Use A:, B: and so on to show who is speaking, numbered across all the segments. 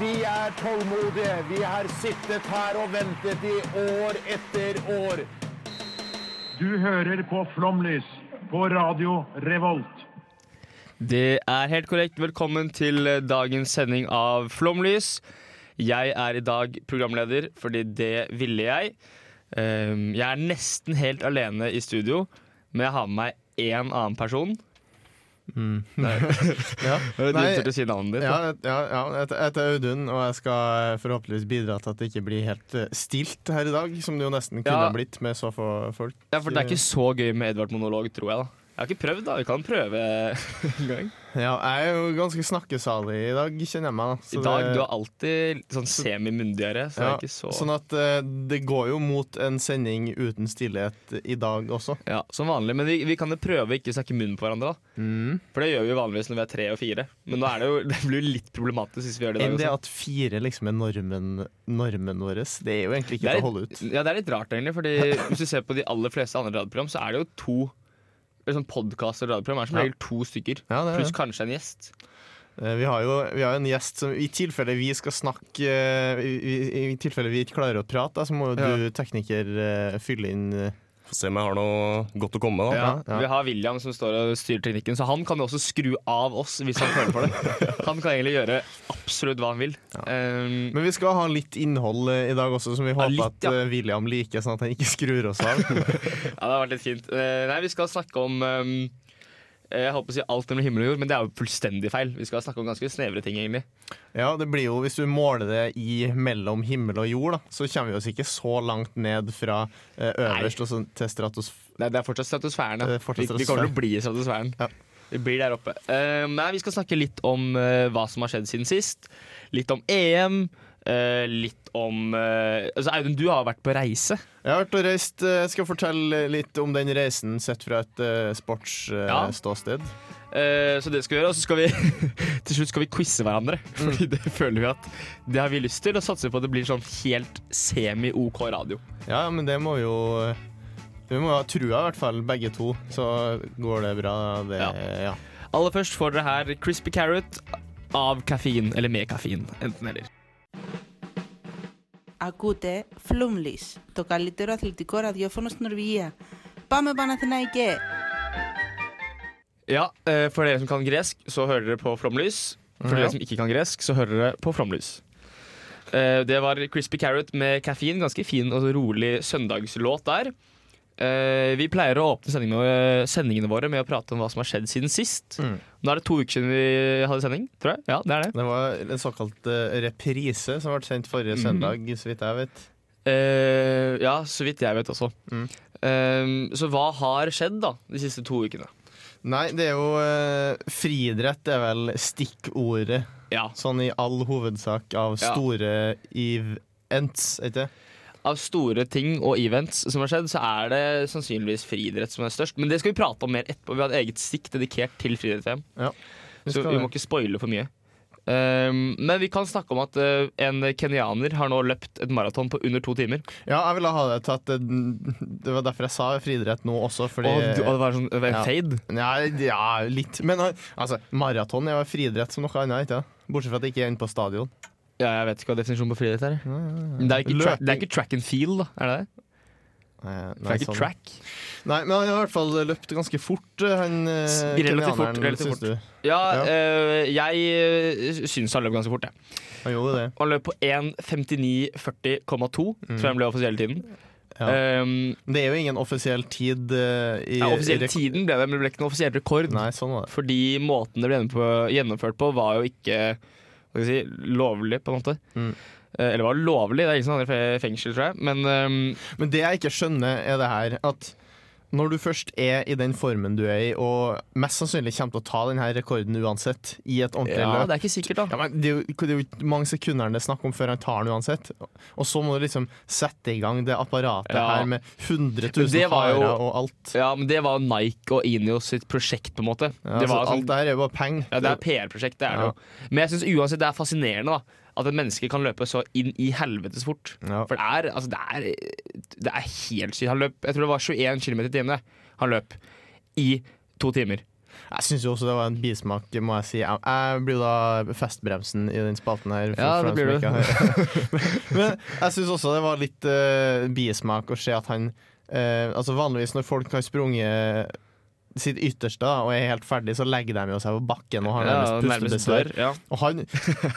A: Vi er tålmodige. Vi har sittet her og ventet i år etter år.
B: Du hører på Flomlys på Radio Revolt.
C: Det er helt korrekt. Velkommen til dagens sending av Flomlys. Jeg er i dag programleder, fordi det ville jeg. Ehm, Jeg er nesten helt alene i studio, men jeg har med meg én annen person. Det er litt
D: Nei,
C: lurt å si navnet ditt.
D: Ja,
C: da.
D: ja, ja, jeg heter- jeg heter Audun, og jeg skal eh, forhåpentligvis bidra til at det ikke blir helt eh, stilt her i dag, som det jo nesten kunne
C: Ja.
D: ha blitt med så få folk.
C: Ja, for det er ikke så gøy med Edvard Monolog, tror jeg. da Jeg har ikke prøvd, da. Vi kan prøve en gang.
D: Ja, jeg er jo ganske snakkesalig i dag, kjenner jeg meg. da.
C: I
D: Så
C: dag,
D: det-
C: du er alltid litt sånn semimundigere, så det
D: ja,
C: er ikke så
D: Sånn at eh, det går jo mot en sending uten stillhet i dag også.
C: Ja, som vanlig, men vi, vi kan jo prøve å ikke snakke munnen på hverandre, da. For det gjør vi jo vanligvis når vi er tre og fire. Men nå er det jo det blir jo litt problematisk hvis vi gjør det i
D: Enn
C: dag
D: det
C: også.
D: at fire liksom er normen, normen vår. Det er jo egentlig ikke
C: Det
D: til å
C: er,
D: holde
C: litt,
D: ut.
C: ja, det er litt rart, egentlig. Fordi hvis du ser på de aller fleste andre radioprogram, så er det jo to eller sånn podkast og radioprogram er som
D: Ja.
C: regel to stykker.
D: Ja, det er
C: Pluss
D: det.
C: kanskje en gjest.
D: Eh, Vi har jo vi har jo en gjest som i tilfelle vi skal snakke eh, I, i, i tilfelle vi ikke klarer å prate, da, så må jo du tekniker eh, fylle inn eh,
E: Få se om jeg har noe godt å komme med. da.
C: Ja,
D: ja.
C: Vi har William som står og styrer teknikken, så han kan jo også skru av oss hvis han føler for det. Han kan egentlig gjøre absolutt hva han vil. Um,
D: Men vi skal ha litt innhold eh, i dag også, som vi håper
C: litt, ja.
D: at eh, William liker, sånn at han ikke skrur oss av.
C: Ja, det har vært litt fint. Eh, nei, vi skal snakke om ehm, eh, Jeg holdt på å si alt mellom himmel og jord, men det er jo fullstendig feil. Vi skal snakke om ganske snevre ting, egentlig.
D: ja, det blir jo, Hvis du måler det i mellom himmel og jord, da, så kommer vi oss ikke så langt ned fra eh, øverst og så til stratos...
C: Nei, det er fortsatt stratosfæren.
D: Det
C: Ja.
D: er fortsatt
C: Vi, vi kommer til
D: stratosfæren.
C: å bli i stratosfæren.
D: Ja.
C: Vi blir der oppe. Eh, nei, vi skal snakke litt om eh, hva som har skjedd siden sist. Litt om EM. eh, litt om eh, altså Audun, du har vært på reise.
D: Jeg har vært og reist. eh, Jeg skal fortelle litt om den reisen sett fra et eh,
C: Ja.
D: sportsståsted.
C: Eh, så det skal vi gjøre. Og så skal vi til slutt skal vi quize hverandre.
D: Mm.
C: Fordi det føler vi at det har vi lyst til, og satser på at det blir sånn helt semi-OK radio.
D: Ja, men det må jo Vi må ha trua, i hvert fall, begge to. Så går det bra, det.
C: Ja.
D: Ja.
C: Aller først får dere her Crispy Carrot av kaffein, eller med kaffein, enten eller.
F: Ακούτε Flumlis, το καλύτερο αθλητικό ραδιόφωνο στην Νορβηγία. Πάμε Παναθηναϊκέ!
C: Ja, eh, for dere som kan gresk, så hører dere på Flomlys. For
D: Ja.
C: dere som ikke kan gresk, så hører dere på Flomlys. Eh, Det var Crispy Carrot med kaffein. Ganske fin og rolig søndagslåt der. Eh, Vi pleier å åpne sendingene, sendingene våre med å prate om hva som har skjedd siden sist.
D: Mm.
C: Nå er det to uker siden vi hadde sending, tror jeg. Ja, det er det.
D: Det var en såkalt eh, reprise som ble sendt forrige
C: Mhm.
D: søndag, så vidt jeg vet.
C: Eh, Ja, så vidt jeg vet også.
D: Mm.
C: Eh, Så hva har skjedd da, de siste to ukene?
D: Nei, det er jo eh, Friidrett er vel stikkordet,
C: Ja,
D: sånn i all hovedsak, av
C: Ja.
D: store events, ikke det?
C: av store ting og events som har skjedd, så er det sannsynligvis friidrett som er størst. Men det skal vi prate om mer etterpå. Vi har et eget stikk dedikert til friidrett-VM.
D: Ja.
C: Så vi må ikke spoile for mye. Um, men vi kan snakke om at uh, en kenyaner har nå løpt et maraton på under to timer.
D: Ja, jeg ville ha det til at eh, Det var derfor jeg sa friidrett nå også, fordi
C: og, og det var sånn det var en
D: Ja.
C: fade.
D: ja, ja, litt. Men eh, altså, maraton er jo friidrett som noe annet, ikke det? Bortsett fra at det ikke er inne på stadion.
C: Ja, jeg vet ikke hva definisjonen på friidrett er. Men Det er, ikke track, det er ikke track and field, da. Er det det?
D: Eh,
C: Det
D: Nei,
C: er ikke
D: sånn.
C: track.
D: Nei, men han har i hvert fall løpt ganske fort, eh, han eh,
C: S- relativt fort,
D: kenyaneren,
C: relativt
D: syns
C: fort.
D: du?
C: Ja,
D: Ja.
C: øh, jeg øh, syns han løp ganske fort, jeg.
D: Han gjorde det.
C: Han løp på 1.59,40,2, tror jeg han ble offisiell tiden.
D: Ja.
C: Um,
D: Det er jo ingen offisiell tid eh, i,
C: Ja,
D: i
C: offisiell
D: rek-
C: tiden ble det, men det ble ikke noen offisiell rekord.
D: Nei, sånn var det.
C: Fordi måten det ble gjennomfø- gjennomført på, var jo ikke hva skal jeg si, lovlig, på en måte.
D: Mm.
C: Eh, Eller var det lovlig, det er ingen som havner i fe- fengsel, tror jeg. Men ehm,
D: Men det jeg ikke skjønner, er det her at Når du først er i den formen du er i, og mest sannsynlig kommer til å ta denne rekorden uansett, i et ordentlig
C: Ja,
D: løp
C: det er ikke sikkert,
D: ja,
C: da.
D: men det, er jo, det er jo ikke mange sekunder det er snakk om før han tar den uansett. Og så må du liksom sette i gang det apparatet
C: Ja.
D: her med 100
C: Men
D: 000
C: det var jo-
D: harer og alt.
C: Ja, men det var jo Nike og Ineos sitt prosjekt, på en måte.
D: Ja,
C: det,
D: altså,
C: var sånn,
D: alt det her er jo bare penger.
C: ja, det er PR-prosjekt, det er det
D: Ja.
C: jo. Men jeg syns uansett det er fascinerende da at et menneske kan løpe så inn i helvetes fort.
D: Ja.
C: For det er, altså, det er, det er helt sykt. Han løp, jeg tror det var 21 km i timen det. han løp. I to timer.
D: Jeg syns jo også det var en bismak, må jeg si. Jeg- Jeg blir jo da festbremsen i den spalten her. for-
C: Ja,
D: for
C: det
D: dem
C: blir
D: som
C: du.
D: ikke har- Men jeg syns også det var litt eh, bismak å se at han eh, Altså Vanligvis når folk har sprunget sitt ytterste da, og er helt ferdig, så legger de jo seg på bakken og har nærmest pustebesvær.
C: Ja.
D: Og han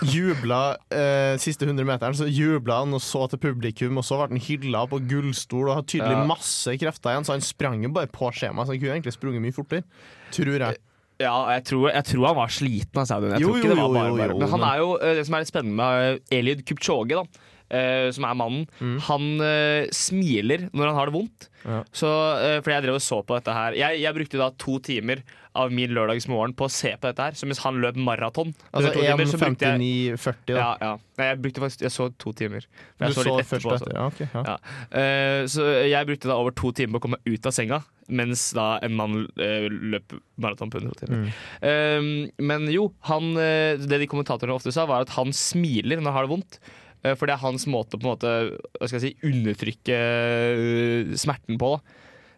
D: jubla eh, siste 100 meteren, så jubla han og så til publikum, og så ble han hylla på gullstol og har tydelig
C: Ja.
D: masse krefter igjen, så han sprang jo bare på skjemaet, så han kunne egentlig sprunget mye fortere. Tror jeg.
C: Eh, Ja, jeg tror, jeg tror han var sliten av Saudi. Jeg
D: Jo,
C: tror
D: jo,
C: ikke det var
D: jo,
C: bare,
D: jo,
C: bare.
D: jo,
C: Men han
D: men-
C: er jo, eh, det som er litt spennende med eh, Eliud Kipchoge, da, eh, som er mannen, han eh, smiler når han har det vondt.
D: Mm. Ja.
C: Så, eh, fordi jeg drev og så på dette her. Jeg, jeg brukte da to timer av min lørdagsmorgen på å se på dette her. Så mens han løp maraton
D: Altså
C: under to timer, så brukte jeg-
D: 1,59,40, da.
C: Ja, ja. Nei, jeg brukte faktisk Jeg så to timer. Men
D: du
C: jeg
D: så,
C: litt etterpå
D: først
C: også.
D: etter. Ja, ok, ja.
C: Ja. Eh, så jeg brukte da over to timer på å komme meg ut av senga, mens da en mann eh, løp maraton på 100
D: Mm.
C: timer. Eh, men jo, han, eh, det de kommentatorene ofte sa, var at han smiler når han har det vondt. eh, for det er hans måte å på en måte, hva skal jeg si, undertrykke eh, smerten på. Da.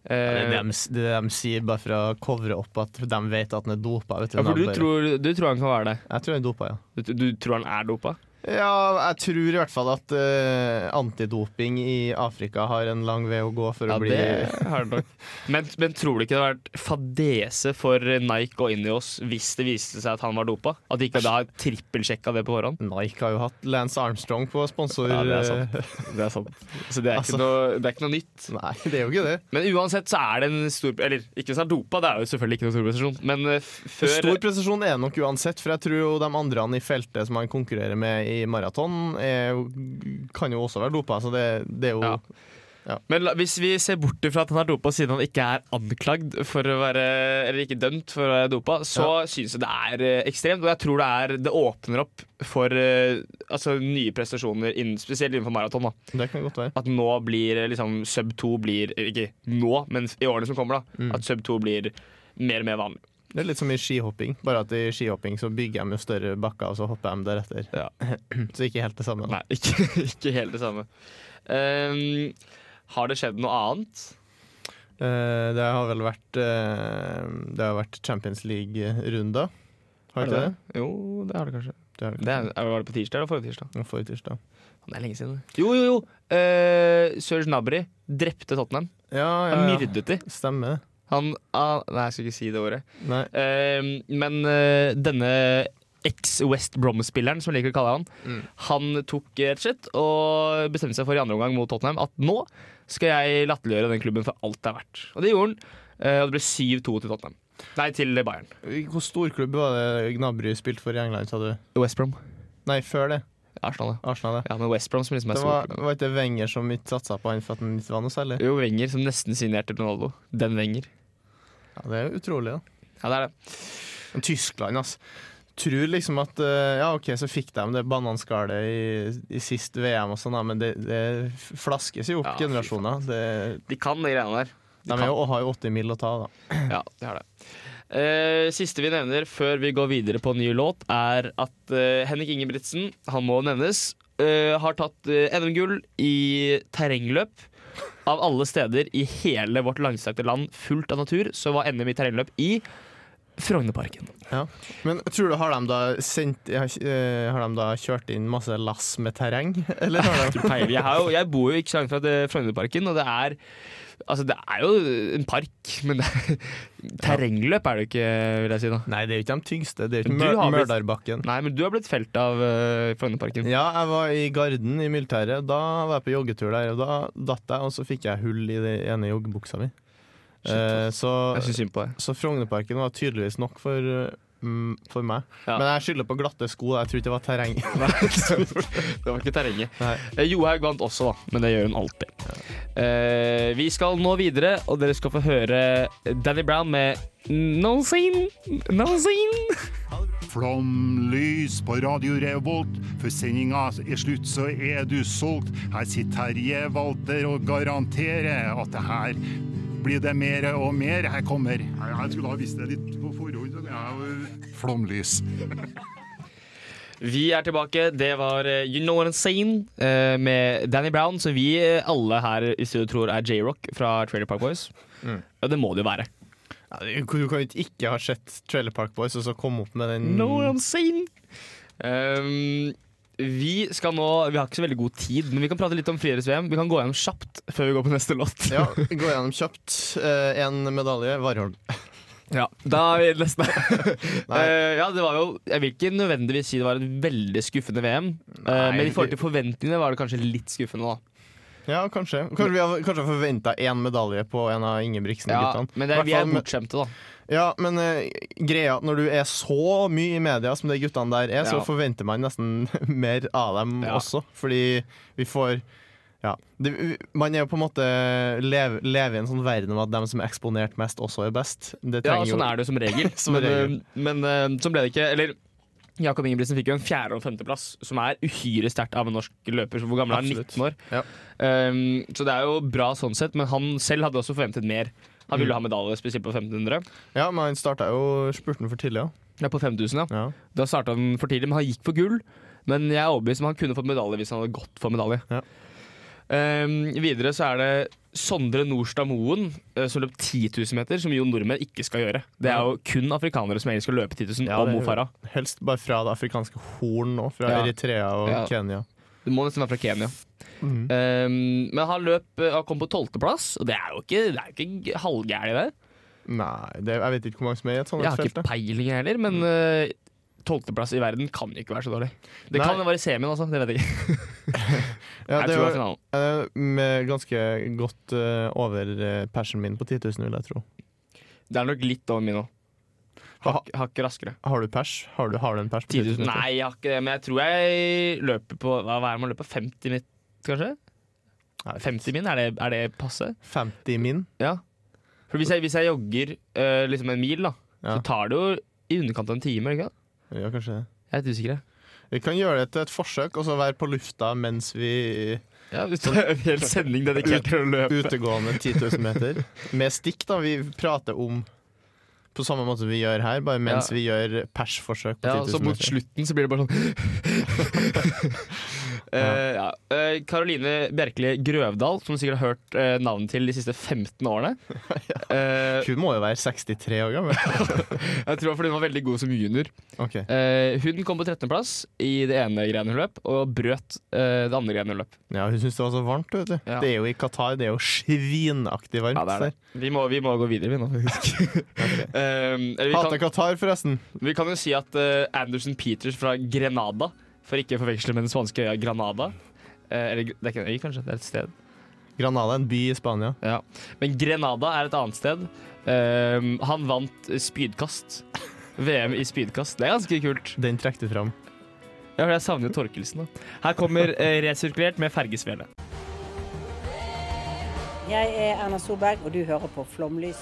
D: Det
C: Eh,
D: er det de, det er det de sier bare for å covre opp at de vet at den er dopa. Vet du,
C: ja, for
D: de
C: du
D: bare-
C: tror, du tror han kan være det?
D: Jeg tror den er dopa, ja.
C: Du, du tror han er dopa?
D: Ja, jeg tror i hvert fall at eh, antidoping i Afrika har en lang vei å gå for
C: Ja,
D: å bli
C: det har det nok. Men, men tror du ikke det hadde vært fadese for Nike og Ineos hvis det viste seg at han var dopa? At de ikke hadde trippelsjekka det på forhånd?
D: Nike har jo hatt Lance Armstrong på sponsor...
C: Ja, det er sant. Det er sant. Så det er,
D: Altså-
C: ikke, noe, det er ikke noe nytt.
D: Nei, det er jo ikke det.
C: Men uansett så er det en stor Eller ikke hvis han er dopa, det er jo selvfølgelig ikke noen stor prestasjon, men eh, f- før
D: Stor presisjon er det nok uansett, for jeg tror jo de andre i feltet som han konkurrerer med i maraton, er jo- kan jo også være dopa, så det, det er jo
C: Ja. Men la, hvis vi ser bort ifra at han er dopa siden han ikke er anklagd for å være Eller ikke dømt for å være dopa, så syns jeg det er eh, ekstremt. Og jeg tror det er Det åpner opp for eh, altså, nye prestasjoner, innen, spesielt innenfor maraton. da
D: Det kan godt være.
C: At nå blir eh, liksom sub 2 blir eller Ikke nå, men i årene som kommer, da. At sub 2 blir mer og mer vanlig.
D: Det er litt som i skihopping, bare at i skihopping så bygger de jo større bakker, og så hopper de deretter.
C: Ja.
D: Så ikke helt det samme.
C: Hm.
D: da.
C: Nei, ikke, ikke helt det samme. Ehm, har det skjedd noe annet?
D: Eh, det har vel vært eh, Det har vært Champions League-runder. Har ikke det?
C: Jo, det har det kanskje.
D: Det har
C: Det er, var det på tirsdag eller forrige tirsdag?
D: det. Forrige tirsdag.
C: Det er lenge siden. Jo, jo, jo. Uh, Serge Nabri drepte Tottenham.
D: Ja, ja,
C: Han
D: ja.
C: myrdet de.
D: Stemmer det.
C: Han ah, Nei, jeg skal ikke si det ordet.
D: Nei.
C: Ehm, men eh, denne eks-West Brom-spilleren, som jeg liker å kalle han,
D: Mm.
C: han tok eh, rett og slett og bestemte seg for i andre omgang mot Tottenham at nå skal jeg latterliggjøre den klubben for alt det er verdt. Og det gjorde han. eh, og det ble 7-2 til Tottenham. Nei, til Bayern.
D: Hvor stor klubb var det Gnabry spilte for i England, sa du?
C: West Brom.
D: Nei, før det.
C: Arsenal, ja.
D: Arsenal, det.
C: Ja, men West Brom som liksom er
D: Det
C: stor.
D: var,
C: klubb.
D: var ikke det Wenger som ikke satsa på han for at han ikke var noe særlig?
C: Jo, Wenger som nesten signerte Ronaldo. Den Wenger.
D: Ja, det er jo utrolig, da.
C: Ja, det er det.
D: Men Tyskland, altså. Tror liksom at eh, Ja, OK, så fikk de det bananskallet i, i sist VM og sånn, da, men det, det flaskes jo opp
C: Ja, fy
D: generasjoner. Det,
C: De kan de greiene der.
D: de er jo, har jo 80 mil å ta, da.
C: Ja, det har det. Eh, siste vi nevner før vi går videre på ny låt, er at eh, Henrik Ingebrigtsen, han må nevnes, eh, har tatt eh, NM-gull i terrengløp. Av alle steder i hele vårt langstrakte land fullt av natur, så var NM i terrengløp i Frognerparken.
D: Ja. Men tror du har de da sendt eh, Har de da kjørt inn masse lass med terreng, eller har de
C: Peiling. Jeg, har jo, jeg bor jo ikke så langt fra det- Frognerparken, og det er Altså, det er jo en park, men det er, terrengløp er det jo ikke, vil jeg si, da.
D: Nei, det er jo ikke de tyngste. Det er jo ikke
C: Men du
D: Mør-
C: har blitt-
D: Mørdarbakken.
C: Nei, men du har blitt felt av uh, Frognerparken.
D: Ja, jeg var i Garden i militæret. Da var jeg på joggetur der, og da datt jeg, og så fikk jeg hull i den ene joggebuksa mi. Eh, så
C: Jeg syns synd på deg.
D: Så Frognerparken var tydeligvis nok for, mm, for meg.
C: Ja.
D: Men jeg skylder på glatte sko. Jeg tror ikke det var terreng.
C: Nei, det var ikke terrenget.
D: Nei.
C: Eh, Johaug vant også, da, men det gjør hun alltid. Eh, vi skal nå videre, og dere skal få høre Danny Brown med No Scene. No Scene.
G: Flomlys på Radio Revolt, for sendinga er slutt, så er du solgt. Her sitter Terje Walter og garanterer at det her blir det mer og mer. Her kommer Jeg skulle ha visst det litt på forhånd. Flomlys.
C: Vi er tilbake. Det var eh, You Know What I'm Saying eh, med Danny Brown, som vi eh, alle her i studio tror er J-Rock fra Trailer Park Boys. Ja, det må det jo være.
D: Ja, du kan jo ikke ikke ha sett Trailer Park Boys og så komme opp med den
C: No What I'm Saying. Um, vi skal nå Vi har ikke så veldig god tid, men vi kan prate litt om friidretts-VM. Vi kan gå gjennom kjapt før vi går på neste låt.
D: Ja, gå gjennom kjapt. Én medalje. Warholm.
C: Ja, da er vi nesten
D: Nei.
C: Eh, ja, det var jo Jeg vil ikke nødvendigvis si det var et veldig skuffende VM, eh,
D: Nei,
C: men i forhold
D: vi-
C: til forventningene var det kanskje litt skuffende. da
D: Ja, kanskje. Kanskje vi har kanskje forventa én medalje på en av
C: ja,
D: Ingebrigtsen-guttene.
C: Men det,
D: I hvert
C: vi er
D: fall med-
C: bortskjemte, da.
D: Ja, men eh, greia at når du er så mye i media som de guttene der er, så
C: Ja.
D: forventer man nesten mer av dem
C: Ja.
D: også. Fordi vi får Ja. Det, man er jo på en måte lever leve i en sånn verden om at dem som er eksponert mest, også er best. Det
C: Ja,
D: trenger
C: sånn er det jo som regel.
D: Som
C: men
D: regel.
C: eh, men eh, sånn ble det ikke. Eller Jakob Ingebrigtsen fikk jo en fjerde- og femteplass, som er uhyre sterkt av en norsk løper. Hvor gammel er han?
D: Absolutt.
C: 19 år.
D: Ja.
C: Um, så det er jo bra sånn sett, men han selv hadde også forventet mer. Han
D: Mm.
C: ville ha medalje, spesielt på 1500.
D: jo Ja, men han starta jo spurten for tidlig,
C: Ja, på 5000, ja.
D: ja. ja.
C: Da starta han for tidlig, men han gikk for gull. Men jeg er overbevist om han kunne fått medalje hvis han hadde gått for medalje.
D: Ja.
C: Ehm, videre så er det Sondre Nordstad Moen eh, som løp 10 000 meter, som jo nordmenn ikke skal gjøre. Det er jo kun afrikanere som egentlig skal løpe 10 000,
D: Ja,
C: og
D: det er
C: Mo
D: jo-
C: Farah.
D: Helst bare fra det afrikanske horn nå, fra
C: Ja.
D: Eritrea og
C: Ja.
D: Kenya.
C: Det må nesten være fra Kenya.
D: Mhm.
C: Ehm, men han løp eh, han kom på tolvteplass, og det er jo ikke, det er jo ikke halvgærent, det.
D: Nei, det, jeg vet ikke hvor mange som er i et sånt
C: Jeg
D: et
C: har
D: felt.
C: ikke
D: da.
C: peiling jeg heller,
D: Mm.
C: men eh, tolvteplass i verden kan ikke være så dårlig. Det
D: Nei.
C: kan være i semien også, det vet jeg ikke.
D: Ja,
C: jeg
D: det
C: tror det var
D: var
C: finalen.
D: eh, med ganske godt eh, over eh, persen min på 10 000, vil jeg tro.
C: Det er nok litt over min nå.
D: Ha,
C: Hakk- Hakk raskere.
D: har du pers? Har du, har du en pers? på
C: 10 000.
D: 10 000?
C: Nei, jeg har ikke det, men jeg tror jeg løper på Hva hva er det man løper? 50 mitt, kanskje?
D: Jeg vet
C: 50 min, er det, er det passe?
D: 50 min?
C: Ja. For hvis jeg, hvis jeg jogger eh, liksom en mil, da,
D: Ja.
C: så tar det jo i underkant av en time. Ikke? sant?
D: Ja, kanskje det.
C: Jeg er litt usikker. jeg.
D: Vi kan gjøre det til et forsøk, og så være på lufta mens vi
C: Ja, hvis det er en hel sending dedikert til å løpe.
D: Utegående 10 000 meter. Med stikk, da. Vi prater om på samme måte som vi gjør her, bare mens
C: Ja.
D: vi gjør persforsøk på
C: Ja,
D: 10
C: så
D: 000
C: mot
D: meter.
C: slutten så blir det bare sånn Eh, ja. Eh, Karoline Bjerkeli Grøvdal, som du sikkert har hørt eh, navnet til de siste 15 årene. Eh,
D: Hun må jo være 63 år gammel.
C: jeg tror det var fordi hun var veldig god som junior.
D: Ok.
C: Eh, hun kom på 13.-plass i det ene greiene hun løp, og brøt eh, det andre greiene hun løp.
D: Ja, hun syntes det var så varmt, vet du.
C: Ja.
D: Det er jo i Qatar, det er jo svinaktig varmt.
C: Vi må, vi må gå videre, vi nå, faktisk. Eh, eller
D: der.
C: vi,
D: Hater
C: kan,
D: Qatar, forresten.
C: vi kan jo si at eh, Anderson Peters fra Grenada, for ikke å forveksle med den spanske øya Granada eh, Eller det er ikke en øy, kanskje? Det er et sted.
D: Granada er en by i Spania.
C: Ja. Men Grenada er et annet sted. Eh, han vant spydkast. VM i spydkast. Det er ganske kult.
D: Den trekk du fram.
C: Ja, for jeg savner jo Torkelsen, da. Her kommer eh, Resirkulert med fergesvele.
H: Jeg er Erna Solberg, og du hører på Flomlys.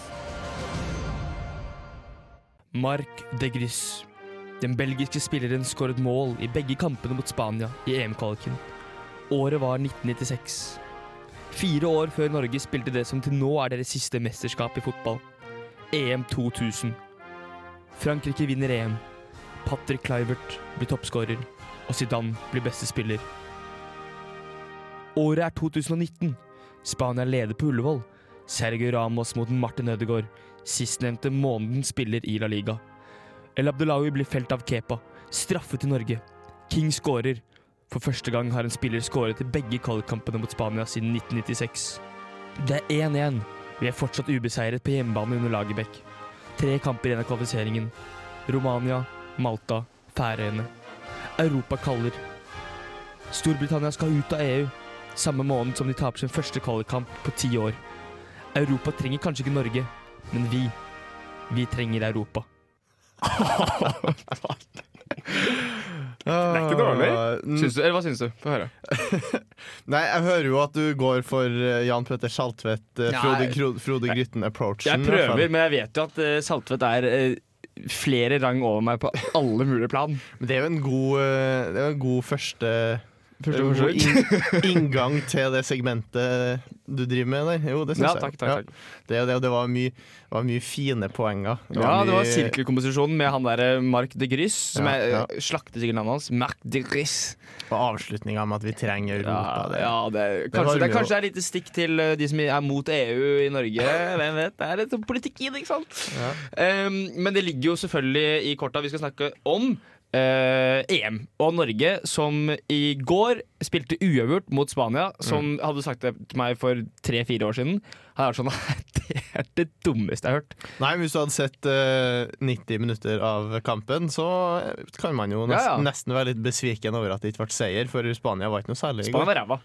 C: Marc de Gris. Den belgiske spilleren skåret mål i begge kampene mot Spania i EM-kvaliken. Året var 1996. Fire år før Norge spilte det som til nå er deres siste mesterskap i fotball. E EM 2000. Frankrike vinner EM. Patrick Kluivert blir toppskårer, og Zidane blir beste spiller. Året er 2019. Spania leder på Ullevål. Sergio Ramos mot Martin Ødegaard sistnevnte måneden spiller i La Liga. El Abdelawi blir felt av Kepa, straffet til Norge. King skårer. For første gang har en spiller skåret i begge kvalikkampene mot Spania siden 1996. Det er 1-1. Vi er fortsatt ubeseiret på hjemmebane under Lagerbäck. Tre kamper igjen av kvalifiseringen. Romania, Malta, Færøyene. Europa kaller. Storbritannia skal ut av EU, samme måned som de taper sin første kvalikkamp på ti år. Europa trenger kanskje ikke Norge, men vi, vi trenger Europa.
D: Det
E: er ikke dårlig.
C: Syns du, eller hva syns du? Få høre.
D: mm. Nei, jeg hører jo at du går for eh, Jan Petter Saltvedt, eh, Frode,
C: Nei.
D: Kro- Frode Grytten-approachen.
C: Jeg prøver, men jeg vet jo at eh, Saltvedt er eh, flere rang over meg på alle mulige plan.
D: Men det er jo en god, eh, det er jo en god første,
C: Første
D: en god
C: forsøk.
D: inn- inngang til det segmentet du driver med der. Jo, det syns
C: Ja,
D: jeg.
C: takk, takk, takk.
D: Ja. Det, er jo det, og det var, mye, var mye fine poenger.
C: Ja, det var
D: mye-
C: sirkelkomposisjonen med han derre Marc de Gris, som
D: Ja,
C: jeg
D: ja.
C: eh, slakter sikkert navnet hans. Marc de Gris.
D: Og avslutninga med at vi trenger Europa.
C: Ja,
D: det.
C: ja det, er- kanskje,
D: varmer
C: det, er-
D: jo.
C: kanskje det er et lite stikk til eh, de som er mot EU i Norge. Hvem vet? Det er litt sånn politikk i det, ikke sant? Um, men det ligger jo selvfølgelig i korta vi skal snakke om. eh, EM og Norge, som i går spilte uavgjort mot Spania.
D: Mm.
C: Som hadde du sagt det til meg for tre-fire år siden, hadde jeg vært sånn Det er det dummeste jeg har hørt.
D: Nei, men Hvis du hadde sett eh, 90 minutter av kampen, så eh, kan man jo nesten,
C: Ja, ja.
D: nesten være litt besviken over at det ikke ble seier, for Spania var ikke noe særlig. i
C: Spania
D: går.
C: var ræva.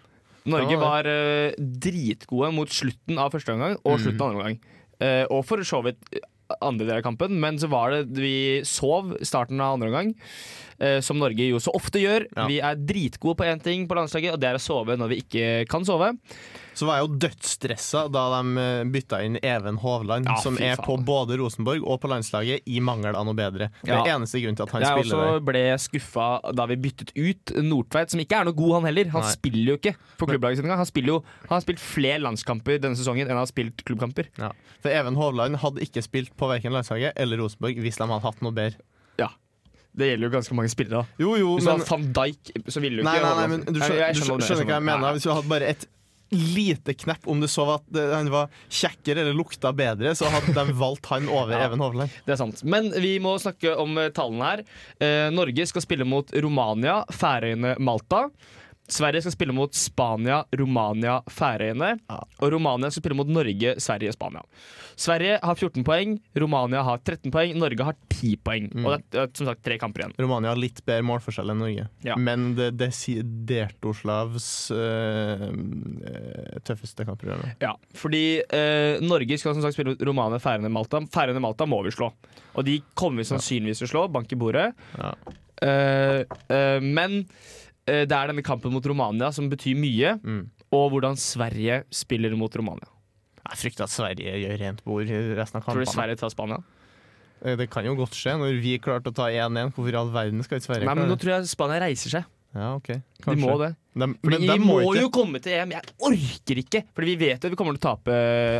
C: Norge
D: Ja, det.
C: var eh, dritgode mot slutten av første omgang
D: Mm.
C: og slutten av andre omgang. Eh, og for så vidt eh, andre del av kampen, men så var det vi sov starten av andre omgang. eh, som Norge jo så ofte gjør.
D: Ja.
C: Vi er dritgode på én ting på landslaget, og det er å sove når vi ikke kan sove.
D: Så var jeg jo dødsstressa da de eh, bytta inn Even Hovland,
C: Ja,
D: som
C: fy
D: er
C: faen.
D: på både Rosenborg og på landslaget i mangel av noe bedre. Det
C: Ja.
D: er eneste grunnen til at han
C: Jeg
D: spiller
C: også ble skuffa da vi byttet ut Nordtveit, som ikke er noe god, han heller. Han
D: Nei.
C: spiller jo ikke for klubblaget sitt engang. Han, spiller jo- han har spilt flere landskamper denne sesongen enn han har spilt klubbkamper.
D: der. Ja. For Even Hovland hadde ikke spilt på verken landslaget eller Rosenborg hvis de hadde hatt noe bedre.
C: Ja. Det gjelder jo ganske mange spillere. da.
D: Jo, jo,
C: Hvis du
D: men
C: hadde van Dijk, så ville du ikke
D: Nei, nei, nei,
C: holde
D: men
C: oss.
D: du
C: Nei,
D: skjønner,
C: jeg
D: du skjønner,
C: det,
D: skjønner hva jeg mener. Hvis du hadde bare et lite knepp om du så at det- han var kjekkere eller lukta bedre, så hadde de valgt han over
C: Ja.
D: Even Hovland.
C: Det er sant. Men vi må snakke om eh, tallene her. Eh, Norge skal spille mot Romania, Færøyene, Malta. Sverige skal spille mot Spania, Romania, Færøyene. Og Romania skal spille mot Norge, Sverige og Spania. Sverige har 14 poeng, Romania har 13 poeng, Norge har 10 poeng.
D: Mm.
C: Og det er, det er som sagt tre kamper igjen.
D: Romania har litt bedre målforskjell enn Norge,
C: Ja.
D: men det desiderte Oslavs øh, øh, tøffeste kampprogram.
C: Ja, fordi eh, Norge skal som sagt spille mot Romania, Færøyene, Malta. Færøyene, Malta må vi slå. Og de kommer vi sannsynligvis til å slå. Bank i bordet.
D: Ja.
C: Eh, eh, men eh, det er denne kampen mot Romania som betyr mye.
D: Mm.
C: Og hvordan Sverige spiller mot Romania.
D: Jeg frykter at Sverige gjør rent bord i resten av
C: Tror du
D: kampene.
C: Sverige tar Spania?
D: Eh, Det kan jo godt skje. Når vi klarte å ta 1-1, hvorfor i all verden skal ikke Sverige
C: Nei, men
D: klare
C: Nå
D: det?
C: tror jeg Spania reiser seg.
D: Ja, ok.
C: De
D: Kanskje.
C: må det.
D: De,
C: Fordi
D: men de
C: vi må
D: må ikke
C: jo komme til EM. Jeg orker ikke! Fordi vi vet jo vi kommer til å tape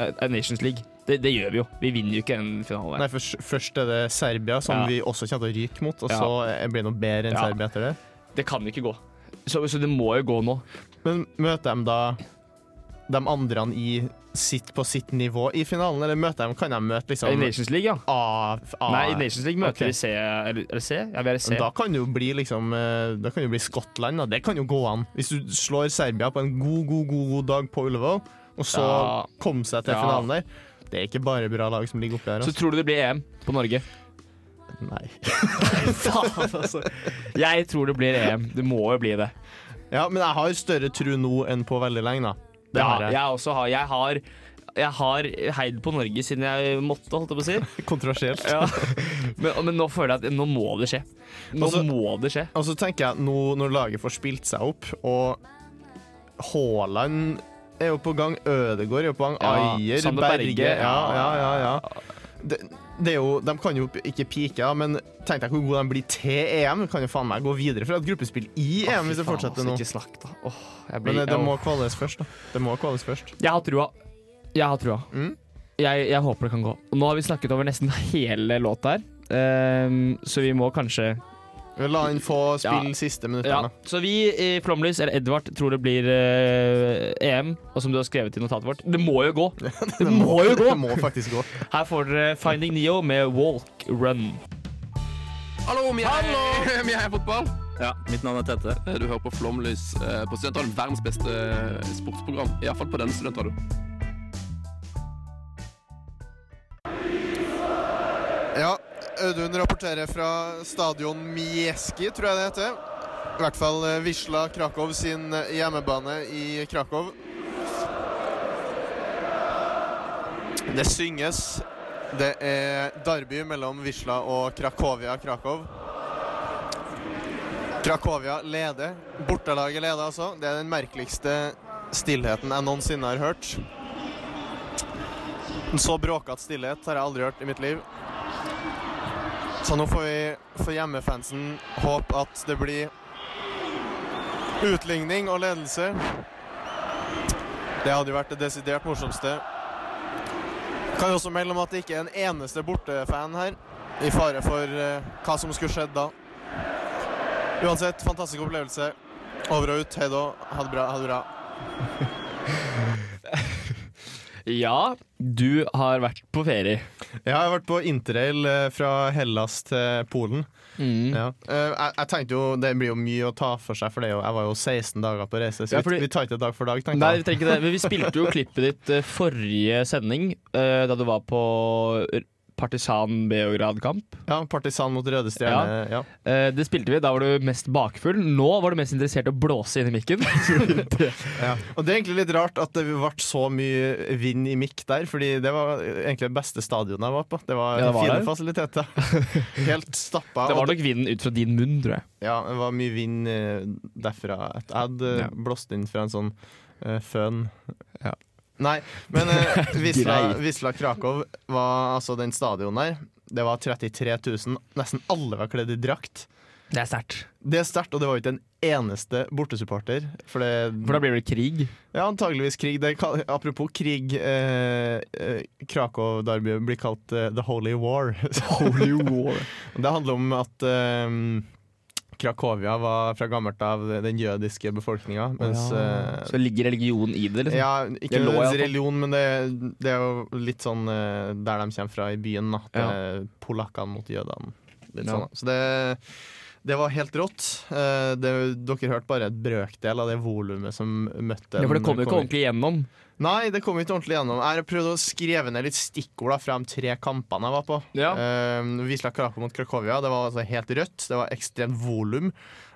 C: eh, Nations League. Det, det gjør vi jo. Vi vinner jo ikke en finale.
D: Nei, først, først er det Serbia, som
C: Ja.
D: vi også kommer til å ryke mot, og
C: Ja.
D: så blir det noe bedre enn
C: Ja.
D: Serbia etter det.
C: Det kan jo ikke gå. Så, så det må jo gå nå.
D: Men møter de da de andre i sitt på sitt nivå i finalen, eller møter de, kan de møte
C: I
D: liksom
C: Nations League, ja.
D: A, A
C: Nei, i Nations League møter
D: Ok.
C: vi C. Eller, eller C? Ja, vi er i C.
D: Men Da kan det jo bli liksom eh, Da kan det jo bli Skottland, da. Det kan jo gå an. Hvis du slår Serbia på en god, god, god, god dag på Ullevål, og så
C: Ja.
D: komme seg til
C: Ja.
D: finalen der. Det er ikke bare bra lag som ligger oppi her.
C: så
D: Altså.
C: tror du det blir EM på Norge?
D: Nei. altså.
C: Jeg tror det blir EM. Det må jo bli det.
D: Ja, men jeg har større tru nå enn på veldig lenge, da. Det
C: ja,
D: har jeg.
C: jeg. også har, jeg har jeg har heid på Norge siden jeg måtte, holdt jeg på å si.
D: Kontroversielt.
C: Ja. Men, men nå føler jeg at nå må det skje. Nå
D: Altså-
C: må det skje.
D: Og så tenker jeg at nå når laget får spilt seg opp, og Haaland er jo på gang, Ødegaard er jo på gang,
C: Ja,
D: Ayer,
C: Sander
D: Berge,
C: Berge,
D: Ja,
C: ja.
D: ja, ja. ja. Det, det er jo, de kan jo ikke peake, ja, men tenk deg hvor gode de blir til EM. Kan jo faen meg gå videre fra et gruppespill i
C: Å,
D: EM hvis
C: fy
D: det
C: faen,
D: fortsetter
C: altså,
D: nå.
C: Ikke snakk, da. Åh, jeg, blir,
D: Men eh, det
C: jeg,
D: må kvales først, da. Det må kvales først.
C: jeg har trua. Jeg har trua.
D: Mm.
C: Jeg, jeg håper det kan gå. Nå har vi snakket over nesten hele låta her, Ehm, så vi må kanskje
D: La han få spille
C: Ja.
D: siste minuttene.
C: Ja, så vi i Flomlys, eller Edvard, tror det blir eh, EM. Og som du har skrevet i notatet vårt, det må jo gå! Det må jo gå!
D: Det må faktisk gå.
C: Her får dere Finding Neo med Walk Run.
I: Hallo, vi er, vi er fotball. Ja, Mitt navn er Tete. Du hører på Flomlys eh, på Studentradioen. Verdens beste eh, sportsprogram. Iallfall på denne studentradioen.
D: Ja, Audun rapporterer fra stadion Mieski, tror jeg det heter. I hvert fall eh, Wisla Krakow sin eh, hjemmebane i Krakow. Det synges. Det er derby mellom Wisla og Krakovia Krakow. Krakovia leder. Bortelaget leder, altså. Det er den merkeligste stillheten jeg noensinne har hørt. En så bråkete stillhet har jeg aldri hørt i mitt liv. Så nå får vi for hjemmefansen håpe at det blir utligning og ledelse. Det hadde jo vært det desidert morsomste. Kan jo også melde om at det ikke er en eneste bortefan her, i fare for eh, hva som skulle skjedd da. Uansett, fantastisk opplevelse. Over og ut. Hei da. Ha det bra. Ha det bra.
C: Ja, du har vært på ferie.
D: Ja, jeg har vært på interrail eh, fra Hellas til Polen.
C: Mm.
D: Ja. Eh, Jeg, jeg tenkte jo, Det blir jo mye å ta for seg, for det er jo, jeg var jo 16 dager på reise. Så
C: Ja, fordi-
D: vi, vi tar ikke det dag for dag, tenkte
C: Nei, vi trenger ikke det. Men vi spilte jo klippet ditt eh, forrige sending, eh, da du var på Partisan Beograd-kamp.
D: Ja, Partisan mot Røde Stjerne, ja.
C: Eh, Det spilte vi. Da var du mest bakfull. Nå var du mest interessert i å blåse inn i mikken.
D: Ja. Og det er egentlig litt rart at det ble så mye vind i mikk der, fordi det var egentlig det beste stadionet jeg var på. Det var,
C: Ja, det var
D: fine
C: det.
D: fasiliteter. Helt stappa.
C: Det
D: og
C: var nok vinden ut fra din munn, tror jeg.
D: Ja, det var mye vind eh, derfra. Jeg hadde eh,
C: Ja.
D: blåst inn fra en sånn eh, føn. Nei, men eh, Wisla,
C: Greit.
D: Wisla Krakow var altså den stadion der. Det var 33 000. Nesten alle var kledd i drakt.
C: Det er sterkt.
D: Det er sterkt, og det var jo ikke en eneste bortesupporter. For, det,
C: For da blir det krig.
D: Ja, antageligvis krig. Det, kal- apropos krig, eh, eh, Krakow-Darby blir kalt eh, The Holy War.
C: Holy War.
D: det handler om at eh, Krakovia var fra gammelt av den jødiske befolkninga. Mens, eh,
C: Så ligger religion i det, liksom.
D: ja, ikke
C: Det lå i alle
D: nødvendigvis
C: fall.
D: religion, men det, det er jo litt sånn eh, der de kommer fra i byen. Da. At
C: Ja.
D: det er polakkene mot jødene. Litt
C: Ja.
D: sånn, da. Så det, det var helt rått. Eh, det, dere hørte bare et brøkdel av det volumet som møtte
C: Ja, for det
D: den
C: kommer jo ikke
D: kommer-
C: ordentlig gjennom.
D: Nei, det kom ikke ordentlig gjennom. Jeg har prøvd å skrive ned litt stikkord da, fra de tre kampene jeg var på.
C: Ja.
D: Eh, Wisla Krakow mot Krakovia. Det var altså helt rødt. Det var ekstremt volum.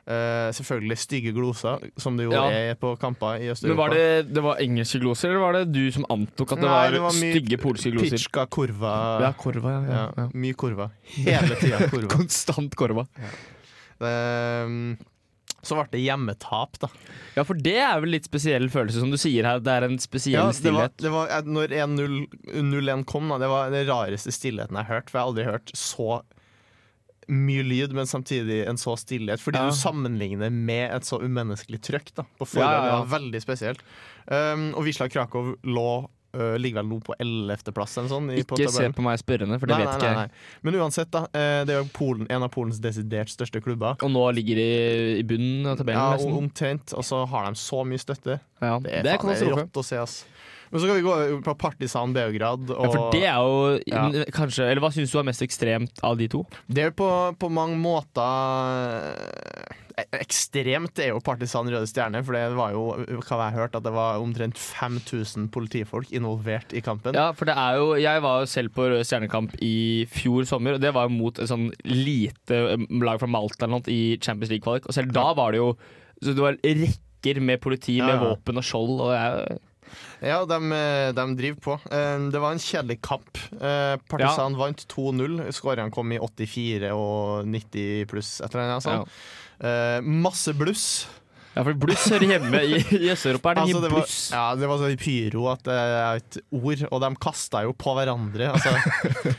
D: Eh, selvfølgelig stygge gloser, som det jo
C: Ja.
D: er på kamper i
C: Men
D: Øst-Europa.
C: Var det, det var engelske gloser, eller var det du som antok at det,
D: Nei,
C: var,
D: mye
C: stygge polske gloser?
D: Pitchka kurva.
C: Ja, korva, ja. ja.
D: Ja, mye kurva. Hele tida kurva.
C: Konstant korva.
D: Eh, så ble det hjemmetap, da.
C: Ja, for det er vel litt spesiell følelse, som du sier her. Det er en spesiell
D: Ja, det var,
C: stillhet.
D: det var, eh, når 1-0-1 kom, da, det var den rareste stillheten jeg har hørt. For jeg har aldri hørt så mye lyd, men samtidig en så stillhet. Fordi
C: Ja.
D: du sammenligner med et så umenneskelig trøkk da, på
C: Ja,
D: forhånd.
C: ja, ja.
D: Det var veldig spesielt. Um, og Wisla Krakow lå eh, ligger vel nå på 11.-plass eller sånn. i- på
C: Ikke se
D: tabellen.
C: på meg spørrende, for det
D: Nei,
C: vet
D: nei,
C: ikke
D: nei,
C: jeg.
D: nei. Men uansett, da. eh, Det er jo Polen, en av Polens desidert største klubber.
C: Og nå ligger de i bunnen av tabellen,
D: Ja, og
C: nesten.
D: omtrent. Og så har de så mye støtte.
C: Ja,
D: Det er,
C: det er
D: faen, det er
C: katastrofe.
D: rått å se, ass. Men så kan vi gå over på Partisan Beograd. Og
C: Ja, for det er jo
D: Ja.
C: n- kanskje Eller hva syns du er mest ekstremt av de to?
D: Det er på, på mange måter eh, ekstremt er jo Partisan Røde Stjerne, for det var jo, hva har jeg hørt, at det var omtrent 5000 politifolk involvert i kampen.
C: Ja, for det er jo Jeg var jo selv på Rød Stjernekamp i fjor sommer, og det var jo mot et sånn lite eh, lag fra Malta eller noe i Champions League-kvalik. Og selv da var det jo Så det var rekker med politi
D: Ja,
C: med
D: ja.
C: våpen og skjold, og det er
D: Ja, de, de driver på. Eh, Det var en kjedelig kamp. Eh, Partisan vant 2-0. Skårene kom i 84 og 90 pluss, et eller annet sånt. Eh, Masse bluss.
C: Ja, for bluss hører hjemme i, i Øst-Europa. Er det
D: Altså,
C: mye
D: det, var,
C: bluss?
D: ja, det var så mye pyro at det er et ord, og de kasta jo på hverandre. Altså,